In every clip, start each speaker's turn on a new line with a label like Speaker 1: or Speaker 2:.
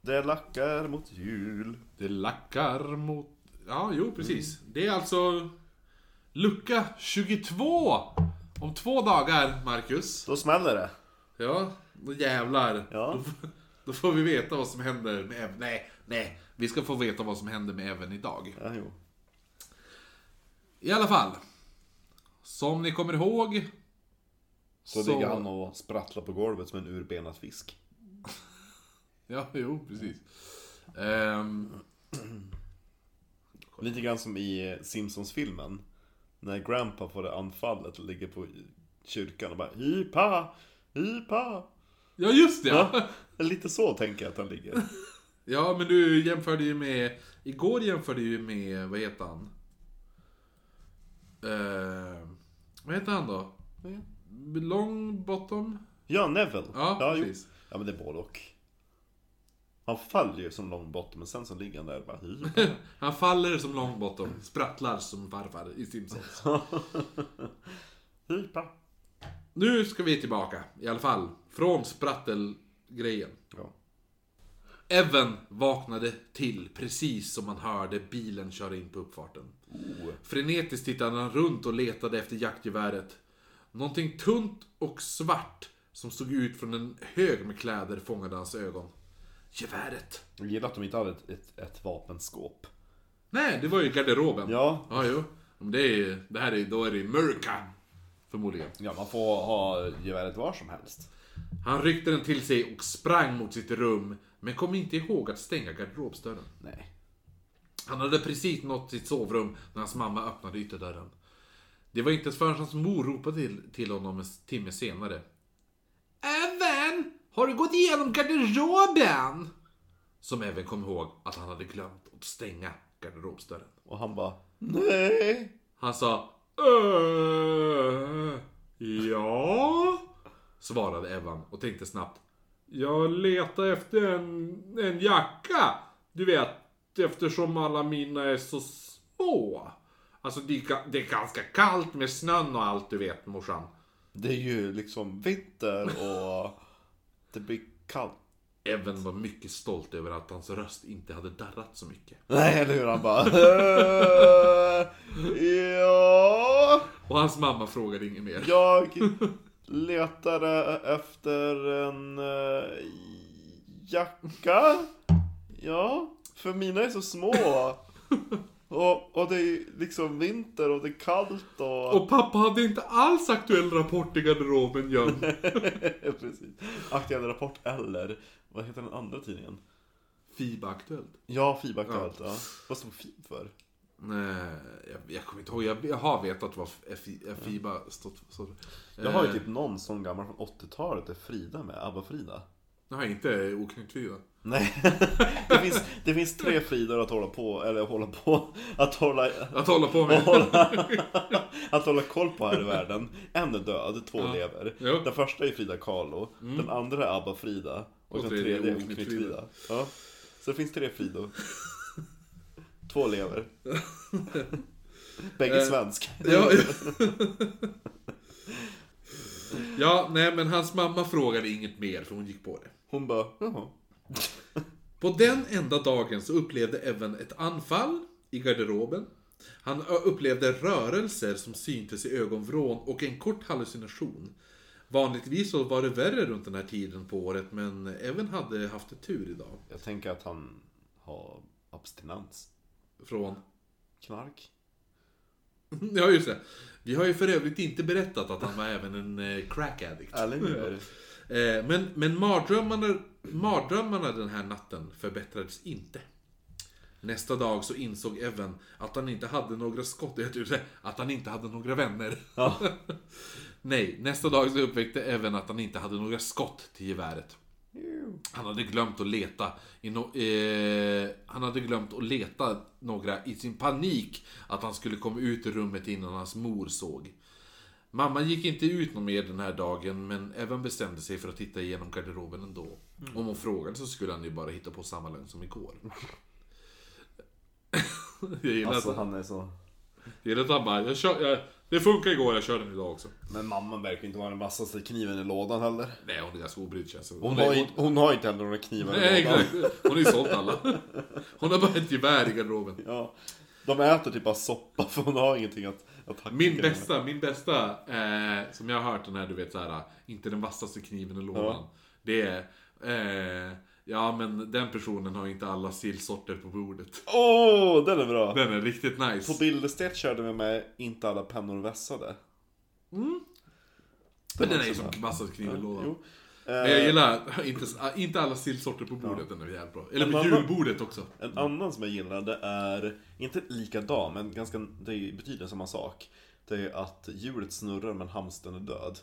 Speaker 1: Det lackar mot jul.
Speaker 2: Det lackar mot... Ja, jo precis.
Speaker 1: Mm.
Speaker 2: Det är alltså lucka 22! Om två dagar, Marcus.
Speaker 1: Då smäller det.
Speaker 2: Ja, då jävlar.
Speaker 1: Ja.
Speaker 2: Då, f- då får vi veta vad som händer med... Ev- Nej, nej. Vi ska få veta vad som händer med även idag.
Speaker 1: Ja, jo.
Speaker 2: I alla fall. Som ni kommer ihåg...
Speaker 1: Så, ligger han och sprattlar på golvet som en urbenad fisk.
Speaker 2: Ja, jo precis. Ehm,
Speaker 1: Lite grann som i Simpsons-filmen. När Grandpa får det anfallet och ligger på kyrkan och bara Hipa! Hipa!
Speaker 2: ja, just det! Ja.
Speaker 1: Ja, lite så tänker jag att han ligger.
Speaker 2: ja, men du jämförde ju med... Igår jämförde ju med, vad heter han? Ehm, vad heter han då? Long bottom?
Speaker 1: Ja, Neville.
Speaker 2: Ja,
Speaker 1: jo.
Speaker 2: precis.
Speaker 1: Ja, men det är både och. Han faller ju som lång botten, men sen så ligger han där och bara Hipa!
Speaker 2: Han faller som Longbottom, sprattlar som farfar i Simpsons.
Speaker 1: Hipa!
Speaker 2: Nu ska vi tillbaka, i alla fall, från sprattelgrejen.
Speaker 1: Ja.
Speaker 2: Evan vaknade till precis som han hörde bilen köra in på uppfarten.
Speaker 1: Oh.
Speaker 2: Frenetiskt tittade han runt och letade efter jaktgeväret. Någonting tunt och svart som stod ut från en hög med kläder fångade hans ögon. Geväret!
Speaker 1: Jag gillar att de inte hade ett, ett, ett vapenskåp.
Speaker 2: Nej, det var ju garderoben.
Speaker 1: Ja.
Speaker 2: Ja, jo. Men det är ju, det här är, då är det ju mörka. Förmodligen.
Speaker 1: ja, man får ha geväret var som helst.
Speaker 2: Han ryckte den till sig och sprang mot sitt rum, men kom inte ihåg att stänga garderobsdörren.
Speaker 1: Nej.
Speaker 2: Han hade precis nått sitt sovrum när hans mamma öppnade ytterdörren. Det var inte förrän hans mor ropade till, till honom en timme senare. Även! Har du gått igenom garderoben? Som även kom ihåg att han hade glömt att stänga garderobsdörren.
Speaker 1: Och han bara Nej!
Speaker 2: Han sa "Eh, Ja? Svarade Evan och tänkte snabbt. Jag letar efter en, en jacka. Du vet, eftersom alla mina är så små. Alltså det är, ga- det är ganska kallt med snön och allt du vet morsan.
Speaker 1: Det är ju liksom vinter och det blir kallt.
Speaker 2: Evan var mycket stolt över att hans röst inte hade darrat så mycket.
Speaker 1: Nej, eller hur? Han bara "Eh, Ja,
Speaker 2: Och hans mamma frågade inget mer.
Speaker 1: jag letade efter en eh, jacka. Ja, för mina är så små. Och, och det är liksom vinter och det är kallt och...
Speaker 2: Och pappa hade inte alls aktuell rapport i garderoben gömd.
Speaker 1: Precis. Aktuell Rapport eller, vad heter den andra tidningen?
Speaker 2: Fiba Aktuellt.
Speaker 1: Ja, FIB Aktuellt. Ja. Vad stod FIB för?
Speaker 2: Nej, Eh, jag, jag kommer inte ihåg. Jag, jag har vetat vad F- Fiba stått för.
Speaker 1: Jag har ju typ någon sån gammal från 80-talet där Frida med, ABBA-Frida.
Speaker 2: Nej, Eh, inte oknytt Fiba.
Speaker 1: Nej, det finns, det finns tre Fridor att hålla på, eller hålla på, att hålla,
Speaker 2: Att hålla på med.
Speaker 1: att hålla koll på här i världen. En är död, två
Speaker 2: Ja.
Speaker 1: lever.
Speaker 2: Jo.
Speaker 1: Den första är Frida Kahlo, den andra är ABBA-Frida och, den tredje är Oknytt Frida. Ja. Så det finns tre Fridor. Två lever. Bägge
Speaker 2: Eh.
Speaker 1: svensk.
Speaker 2: Ja, ja. ja, nej men hans mamma frågade inget mer för hon gick på det.
Speaker 1: Hon bara, jaha.
Speaker 2: På den enda dagen så upplevde Evan ett anfall i garderoben. Han ö- upplevde rörelser som syntes i ögonvrån och en kort hallucination. Vanligtvis så var det värre runt den här tiden på året men Evan hade haft det tur idag.
Speaker 1: Jag tänker att han har abstinens.
Speaker 2: Från...
Speaker 1: Knark.
Speaker 2: Ja just det. Vi har ju för övrigt inte berättat att han var även en eh, crack addict.
Speaker 1: Eller hur?
Speaker 2: Eh, Men, men mardrömmarna, mardrömmarna den här natten förbättrades inte. Nästa dag så insåg Evan att han inte hade några skott, jag tror det, att han inte hade några vänner.
Speaker 1: Ja.
Speaker 2: Nej, nästa dag så upptäckte Evan att han inte hade några skott till geväret. Han hade glömt att leta i no- eh, Han hade glömt att leta några i sin panik att han skulle komma ut ur rummet innan hans mor såg. Mamma gick inte ut någon mer den här dagen men även bestämde sig för att titta igenom garderoben ändå.
Speaker 1: Mm.
Speaker 2: Om hon frågade så skulle han ju bara hitta på samma lögn som igår. Jag gillar
Speaker 1: Alltså
Speaker 2: att
Speaker 1: han är så...
Speaker 2: Det är det att han bara, jag kör, jag, det funkar igår, jag kör den idag också.
Speaker 1: Men mamman verkar inte vara den vassaste kniven i lådan heller.
Speaker 2: Nej, hon är ganska obrydd känns det
Speaker 1: Hon,
Speaker 2: är-
Speaker 1: har, inte, hon har inte heller några knivar
Speaker 2: Nej,
Speaker 1: i lådan.
Speaker 2: exakt. Hon har ju sålt alla. Hon har bara ett gevär i garderoben.
Speaker 1: Ja. De äter typ bara soppa för hon har ingenting att, att hacka
Speaker 2: Min
Speaker 1: med.
Speaker 2: bästa, min bästa, eh, som jag har hört den här, du vet såhär, inte den vassaste kniven i lådan.
Speaker 1: Ja.
Speaker 2: Det är, eh, ja men den personen har inte alla sillsorter på bordet.
Speaker 1: Åh, den är bra!
Speaker 2: Den är riktigt
Speaker 1: På
Speaker 2: nice.
Speaker 1: Bildestedt körde vi med Inte alla pennor vässade.
Speaker 2: Mm. Men den
Speaker 1: var
Speaker 2: är ju
Speaker 1: också
Speaker 2: som
Speaker 1: bra.
Speaker 2: vassaste kniven i lådan.
Speaker 1: Jo.
Speaker 2: Men jag
Speaker 1: Eh,
Speaker 2: gillar inte, inte alla sillsorter på bordet, den är jävligt bra. Eller
Speaker 1: En
Speaker 2: på
Speaker 1: annan-
Speaker 2: julbordet också.
Speaker 1: Eh, En annan som jag gillade är, inte likadan, men ganska, det betyder samma sak. Det är att djuret snurrar men hamsten är död.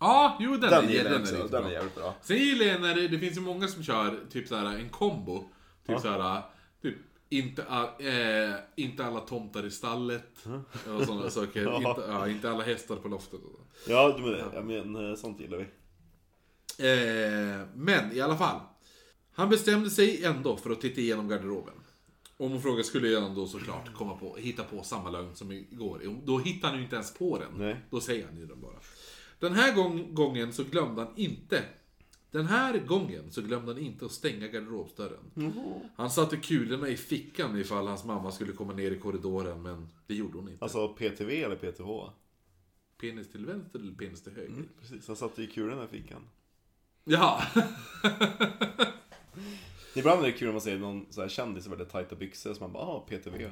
Speaker 2: Ja, jo den,
Speaker 1: Den
Speaker 2: är,
Speaker 1: gillar
Speaker 2: den
Speaker 1: jag
Speaker 2: är
Speaker 1: också,
Speaker 2: riktigt
Speaker 1: den
Speaker 2: bra.
Speaker 1: är jävligt bra.
Speaker 2: Sen gillar jag när det, det finns ju många som kör typ såhär en kombo. Typ såhär, typ inte, a- eh, inte alla tomtar i stallet. Och sådana saker.
Speaker 1: Ja.
Speaker 2: Inte, ja, inte alla hästar på loftet. och så.
Speaker 1: Ja, men, ja. men eh, sånt gillar vi.
Speaker 2: Eh, men i alla fall. Han bestämde sig ändå för att titta igenom garderoben. Om hon frågar skulle han då såklart komma på, hitta på samma lögn som igår. Då hittar han ju inte ens på den.
Speaker 1: Nej.
Speaker 2: Då säger han ju den bara. Den här gång, gången så glömde han inte. Den här gången så glömde han inte att stänga garderobsdörren. Han satte kulorna i fickan ifall hans mamma skulle komma ner i korridoren, men det gjorde hon inte.
Speaker 1: Alltså PTV eller PTH?
Speaker 2: Penis till vänster eller penis till höger?
Speaker 1: Precis, han satte ju kulorna i fickan.
Speaker 2: Ja,
Speaker 1: Ibland är det kul när man ser någon så här kändis i väldigt tajta byxor som man bara, ah, PTV.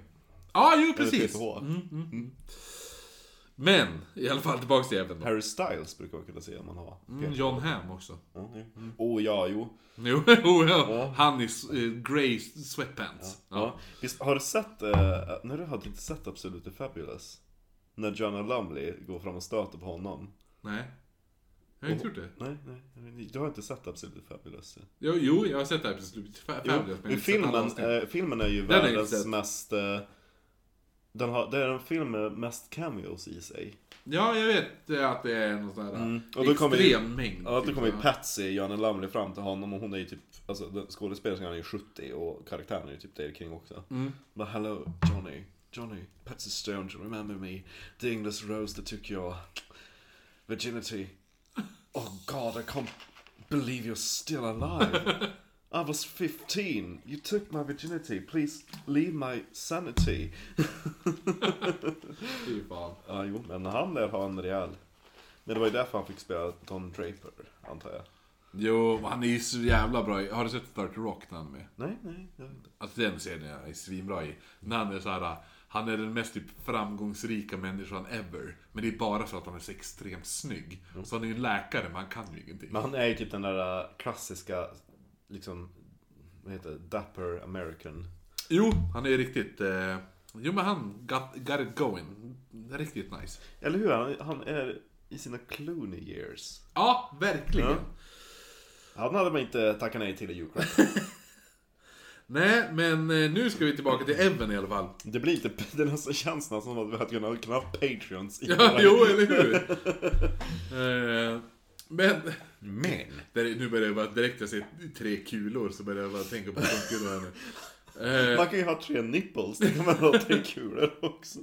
Speaker 2: ja jo Mm. precis. Mm.
Speaker 1: Eller PTH.
Speaker 2: Men, i alla fall tillbaks till även då.
Speaker 1: Harry Styles brukar man kunna se om man har.
Speaker 2: Mm, John Hamm också.
Speaker 1: Ja, jo. Oh ja, jo.
Speaker 2: Jo, jo, ja. Han i s- eh, grey sweatpants. Ja.
Speaker 1: Ja. Visst, har du sett, eh, när du hade inte sett Absolutely Fabulous? När Joanna Lumley går fram och stöter på honom.
Speaker 2: Nej. Jag har inte gjort det.
Speaker 1: Nej, nej, du har inte sett Absolutely Fabulous.
Speaker 2: Jo, jo jag har sett det här precis.
Speaker 1: Jo,
Speaker 2: Fabulous, men jag har
Speaker 1: men
Speaker 2: inte sett alla
Speaker 1: filmen,
Speaker 2: avsnitt.
Speaker 1: eh, filmen är ju
Speaker 2: har jag inte
Speaker 1: världens
Speaker 2: sett.
Speaker 1: mest... Eh, den har, det är en film med mest cameos i sig.
Speaker 2: Ja, jag vet eh, att det är någon sån här
Speaker 1: Mm. Och då
Speaker 2: extrem
Speaker 1: kommer
Speaker 2: mängd.
Speaker 1: Ja, att det
Speaker 2: typ,
Speaker 1: kommer ju
Speaker 2: va?
Speaker 1: Patsy, Joanna Lumley, fram till honom och hon är ju typ, alltså den skådespelerskan är ju 70 och karaktären är ju typ där kring också. Mm. But hello Johnny, Johnny, Patsy Stone, do you remember me? The English rose that took your virginity. Oh god, I can't believe you're still alive. I was 15, you took my virginity, please leave my sanity.
Speaker 2: Fy fan.
Speaker 1: Ja, jo, men han lär ha en rejäl... Men det var ju därför han fick spela Don Draper, antar jag.
Speaker 2: Jo, han är ju så jävla bra i- Har du sett 30 Rock när han är med?
Speaker 1: Nej, nej, jag vet inte.
Speaker 2: Alltså den scenen är svinbra i. När han är så här, han är den mest typ framgångsrika människan ever. Men det är bara för att han är så extremt snygg. Så han är ju en läkare, men han kan ju ingenting.
Speaker 1: Mm. Men han är ju typ den där äh, klassiska, liksom, vad heter det? Dapper American.
Speaker 2: Jo, han är ju riktigt... Eh, jo men han got, got it going. Riktigt nice.
Speaker 1: Eller hur? Han, han är i sina Clooney years.
Speaker 2: Ja, verkligen.
Speaker 1: Ja. Han hade man inte tackat nej till i Ukraine.
Speaker 2: Nej, men eh, nu ska vi tillbaka till Evan i alla fall.
Speaker 1: Det blir lite, det nästan känns nästan som att vi hade kunnat kunna ha Patreons i
Speaker 2: Ja,
Speaker 1: våra-
Speaker 2: jo, eller hur? eh, men...
Speaker 1: Men!
Speaker 2: Där, nu börjar jag bara, direkt jag ser tre kulor så börjar jag bara tänka på punkkulor här nu. Eh,
Speaker 1: Man kan ju ha tre nipples, det kan man ha tre kulor också.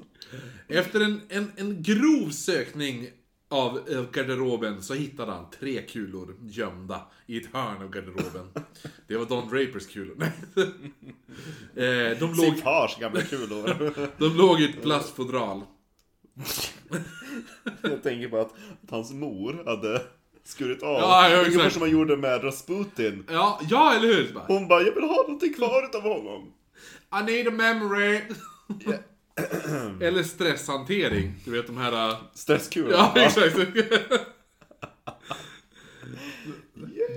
Speaker 2: Efter en, en, en grov sökning av eh, garderoben så hittade han tre kulor gömda i ett hörn av garderoben. Det var Don Drapers kulor. Nej. Eh, de, låg,
Speaker 1: Sitt pars gamla kulor.
Speaker 2: de låg i ett plastfodral.
Speaker 1: Jag tänker på att, att hans mor hade skurit av.
Speaker 2: Ja, ja,
Speaker 1: Ungefär
Speaker 2: exakt.
Speaker 1: som man gjorde med Rasputin.
Speaker 2: Ja, ja eller hur? Så Bara,
Speaker 1: Hon bara, jag vill ha någonting kvar utav honom.
Speaker 2: I need a memory. eller stresshantering. Du vet de här... eh,
Speaker 1: Stresskulor.
Speaker 2: Ja, exakt.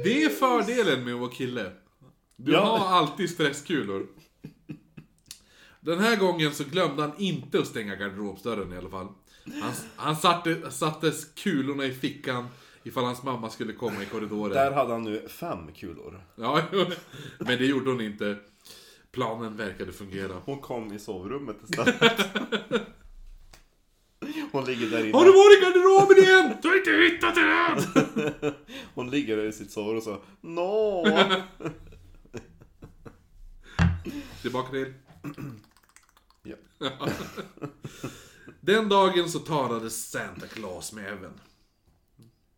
Speaker 2: Det är fördelen med att vara kille. Du
Speaker 1: Ja.
Speaker 2: har alltid stresskulor. Den här gången så glömde han inte att stänga garderobsdörren i alla fall. Han, han satte, sattes kulorna i fickan ifall hans mamma skulle komma i korridoren.
Speaker 1: Där hade han nu fem kulor.
Speaker 2: Ja, jo. men det gjorde hon inte. Planen verkade fungera.
Speaker 1: Hon kom i sovrummet istället. Hon ligger där
Speaker 2: Har du
Speaker 1: inne.
Speaker 2: varit i garderoben igen? Du har inte hittat den än!
Speaker 1: Hon ligger där i sitt sovrum och så No!
Speaker 2: Tillbaka till...
Speaker 1: Ja.
Speaker 2: Den dagen så talade Santa Claus med Evan.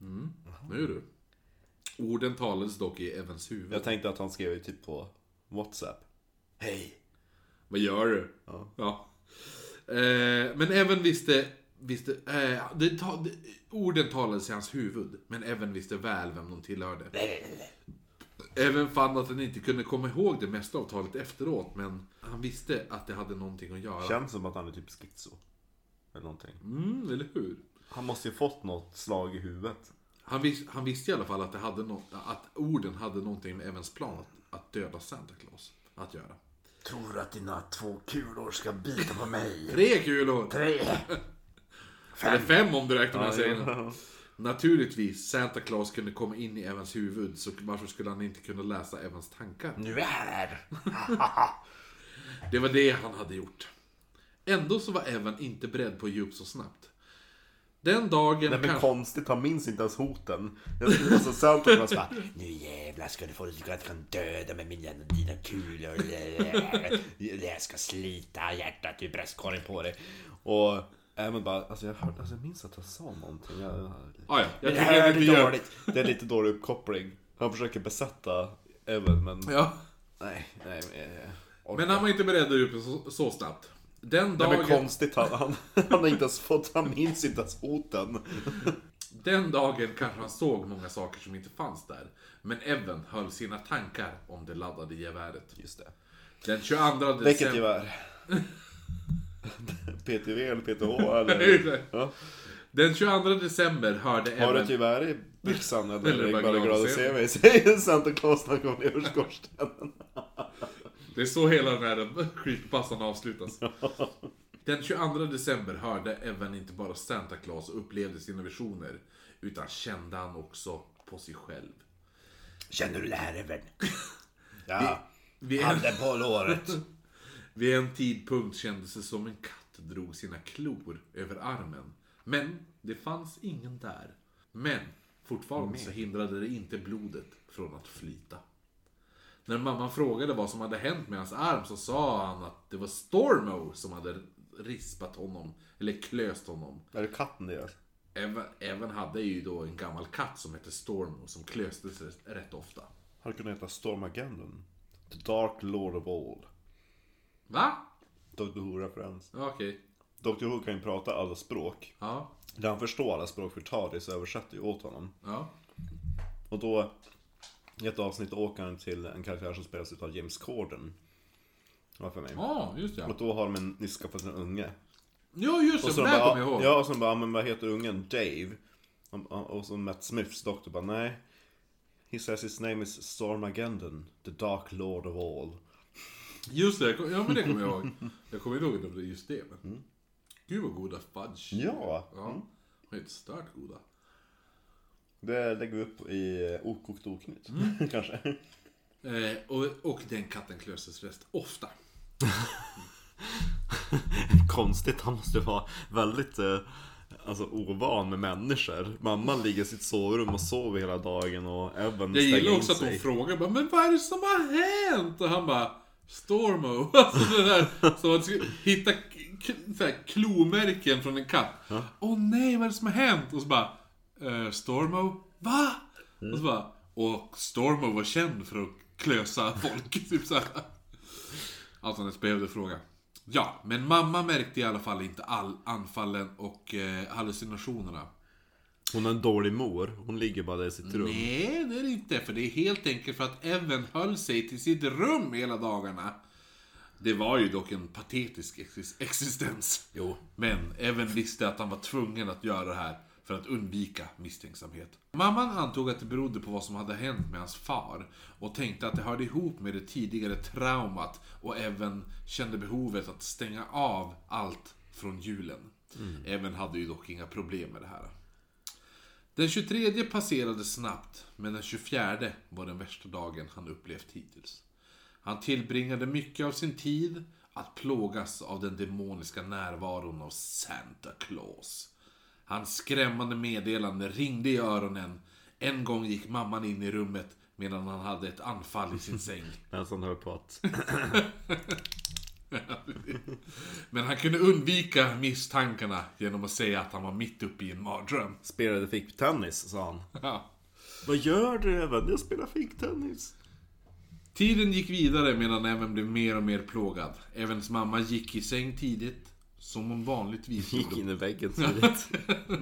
Speaker 2: Mm, nu du. Orden talades dock i Evans huvud.
Speaker 1: Jag tänkte att han skrev ju typ på WhatsApp. Hej!
Speaker 2: Vad gör du?
Speaker 1: Ja.
Speaker 2: Eh, men även visste... visste eh, det, ta, det, orden talades i hans huvud, men även visste väl vem de tillhörde. Även fann att han inte kunde komma ihåg det mesta av talet efteråt, men han visste att det hade någonting att göra.
Speaker 1: Känns som att han är typ schizo. Eller någonting.
Speaker 2: Mm, eller hur?
Speaker 1: Han måste ju fått något slag i huvudet.
Speaker 2: Han, vis, han visste i alla fall att, det hade nå- att orden hade någonting med Evans plan att, att döda Santa Claus att göra.
Speaker 3: Tror du att dina två kulor ska bita på mig?
Speaker 2: Tre kulor!
Speaker 3: Tre!
Speaker 2: Eller fem om du räknar med
Speaker 1: Ja,
Speaker 2: segern. Naturligtvis, Santa Claus kunde komma in i Evans huvud, så varför skulle han inte kunna läsa Evans tankar?
Speaker 3: Nu är jag här!
Speaker 2: Det var det han hade gjort. Ändå så var Evan inte beredd på att ge upp så snabbt. Den dagen
Speaker 1: Nej men
Speaker 2: kanske...
Speaker 1: konstigt, han minns inte ens hoten. Jag skulle vara så Santa Claus bara,
Speaker 3: Nu jävlar ska du få du kan döda med mina, dina kulor. Jag ska slita hjärtat ur bröstkorgen på dig.
Speaker 1: Och även bara, alltså jag, hörde, alltså jag minns att jag sa någonting. Jag, jag,
Speaker 2: Ah, ja, jag
Speaker 3: Det här
Speaker 2: tycker
Speaker 3: är
Speaker 2: inte vi gör...
Speaker 3: dåligt.
Speaker 1: det är lite dålig uppkoppling. Han försöker besätta Evan men...
Speaker 2: Ja.
Speaker 1: Nej, nej. Men, orkar.
Speaker 2: Men han var inte beredd att ge upp så, så snabbt. Den
Speaker 1: nej,
Speaker 2: dagen...
Speaker 1: men konstigt, han, han, han har inte ens fått, han minns inte ens hoten.
Speaker 2: Den dagen kanske han såg många saker som inte fanns där. Men Evan höll sina tankar om det laddade geväret.
Speaker 1: Just det.
Speaker 2: Den 22
Speaker 1: Vilket
Speaker 2: december...
Speaker 1: gevär? PTV eller PTH eller?
Speaker 2: Gevär.
Speaker 1: Ja.
Speaker 2: Den 22 december hörde
Speaker 1: Har du typ-
Speaker 2: Evan...
Speaker 1: ett gevär i byxan eller,
Speaker 2: Eller
Speaker 1: är
Speaker 2: bara
Speaker 1: du bara
Speaker 2: glad
Speaker 1: glad
Speaker 2: att
Speaker 1: att
Speaker 2: se
Speaker 1: se mig? Säger Santa Claus när han kommer ner ur skorstenen.
Speaker 2: Det är så hela den här creepypassan avslutas. Den 22 december hörde Evan inte bara Santa Claus och upplevde sina visioner, utan kände han också på sig själv.
Speaker 3: Känner du det här Evan?
Speaker 1: Ja,
Speaker 2: Vid en,
Speaker 3: Handen på låret.
Speaker 2: vid en tidpunkt kändes det som en katt drog sina klor över armen. Men det fanns ingen där. Men
Speaker 1: Mm.
Speaker 2: fortfarande så hindrade det inte blodet från att flyta. När mamman frågade vad som hade hänt med hans arm så sa han att det var Stormo som hade rispat honom, eller klöst honom.
Speaker 1: är det katten det gör?
Speaker 2: Även, även hade ju då en gammal katt som hette Stormo som klöstes rätt- rätt ofta.
Speaker 1: Han kunde heta Stormageddon. The Dark Lord of All.
Speaker 2: Va?
Speaker 1: Dr Who-referens.
Speaker 2: Ja, Okej.
Speaker 1: Dr Who kan ju prata alla språk.
Speaker 2: Ja,
Speaker 1: När han förstår alla språk för Tardis översätter ju åt honom.
Speaker 2: ja.
Speaker 1: Och då, i ett avsnitt åker han till en karaktär som spelas utav James Corden. Var för mig.
Speaker 2: Ja, just
Speaker 1: Och
Speaker 2: ja.
Speaker 1: då har de en nyss skaffat en unge.
Speaker 2: Ja, just
Speaker 1: Och
Speaker 2: det.
Speaker 1: så
Speaker 2: Det
Speaker 1: de
Speaker 2: här
Speaker 1: bara,
Speaker 2: kommer jag ihåg.
Speaker 1: Ja, och så de bara, men vad heter ungen? Dave? Och- Och och så Matt Smiths doktor bara, nej. He says his name is Stormageddon, the dark lord of all.
Speaker 2: Just det. jag kom- Ja, men det kommer jag ihåg. Jag kommer ihåg att det var just det. Men... Gud vad goda fudge.
Speaker 1: Ja,
Speaker 2: Ja. De är Helt stört goda.
Speaker 1: det lägger vi upp i okokt oknytt.
Speaker 2: Mm.
Speaker 1: Kanske.
Speaker 2: Eh, och, och den katten klöstes rätt ofta.
Speaker 1: Konstigt, han måste vara väldigt eh, alltså, ovan med människor. Mamman ligger i sitt sovrum och sover hela dagen och Evan
Speaker 2: Jag gillar
Speaker 1: stänger
Speaker 2: också
Speaker 1: in
Speaker 2: att hon
Speaker 1: sig.
Speaker 2: frågar bara, men vad är det som har hänt? Och han bara, Stormo. Alltså det där som att skulle hitta k- k- så här, klomärken från en katt. Åh nej, vad är det som har hänt? Och så bara, eh, Stormo, va?
Speaker 1: Mm.
Speaker 2: Och så bara, och Stormo var känd för att klösa folk. typ så här. Alltså, Allt han ens behövde fråga. Ja, men mamma märkte i alla fall inte all anfallen och eh, hallucinationerna.
Speaker 1: Hon är en dålig mor, hon ligger bara där i sitt rum.
Speaker 2: Nej, det är det inte. För det är helt enkelt för att Evan höll sig till sitt rum hela dagarna. Det var ju dock en patetisk exis- existens.
Speaker 1: Jo.
Speaker 2: Men Evan visste att han var tvungen att göra det här för att undvika misstänksamhet. Mamman antog att det berodde på vad som hade hänt med hans far och tänkte att det hörde ihop med det tidigare traumat och Evan kände behovet att stänga av allt från julen.
Speaker 1: Mm.
Speaker 2: Evan hade ju dock inga problem med det här. Den 23 passerade snabbt, men den 24 var den värsta dagen han upplevt hittills. Han tillbringade mycket av sin tid att plågas av den demoniska närvaron av Santa Claus. Hans skrämmande meddelande ringde i öronen. En gång gick mamman in i rummet medan han hade ett anfall i sin säng.
Speaker 1: Medan han höll på att
Speaker 2: Men han kunde undvika misstankarna genom att säga att han var mitt uppe i en mardröm.
Speaker 4: Spelade ficktennis, sa han.
Speaker 2: Ja.
Speaker 1: Vad gör du även? Jag spelar ficktennis.
Speaker 2: Tiden gick vidare medan Evan blev mer och mer plågad. Evans mamma gick i säng tidigt, som hon vanligtvis
Speaker 4: Gick
Speaker 2: gjorde
Speaker 4: in i väggen tidigt.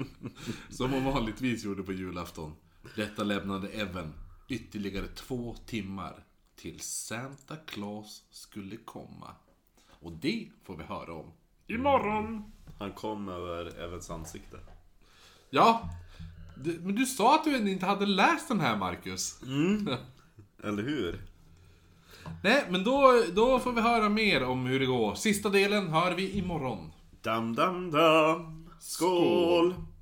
Speaker 2: Som hon vanligtvis gjorde på julafton. Detta lämnade Evan ytterligare två timmar till Santa Claus skulle komma. Och det får vi höra om.
Speaker 1: Imorgon.
Speaker 4: Han kom över Evans ansikte.
Speaker 2: Ja, du- men du sa att du inte hade läst den här Marcus.
Speaker 4: Mm. Eller hur?
Speaker 2: Nej, men då, då får vi höra mer om hur det går. Sista delen hör vi imorgon.
Speaker 4: Dam, dam, dam. Skål!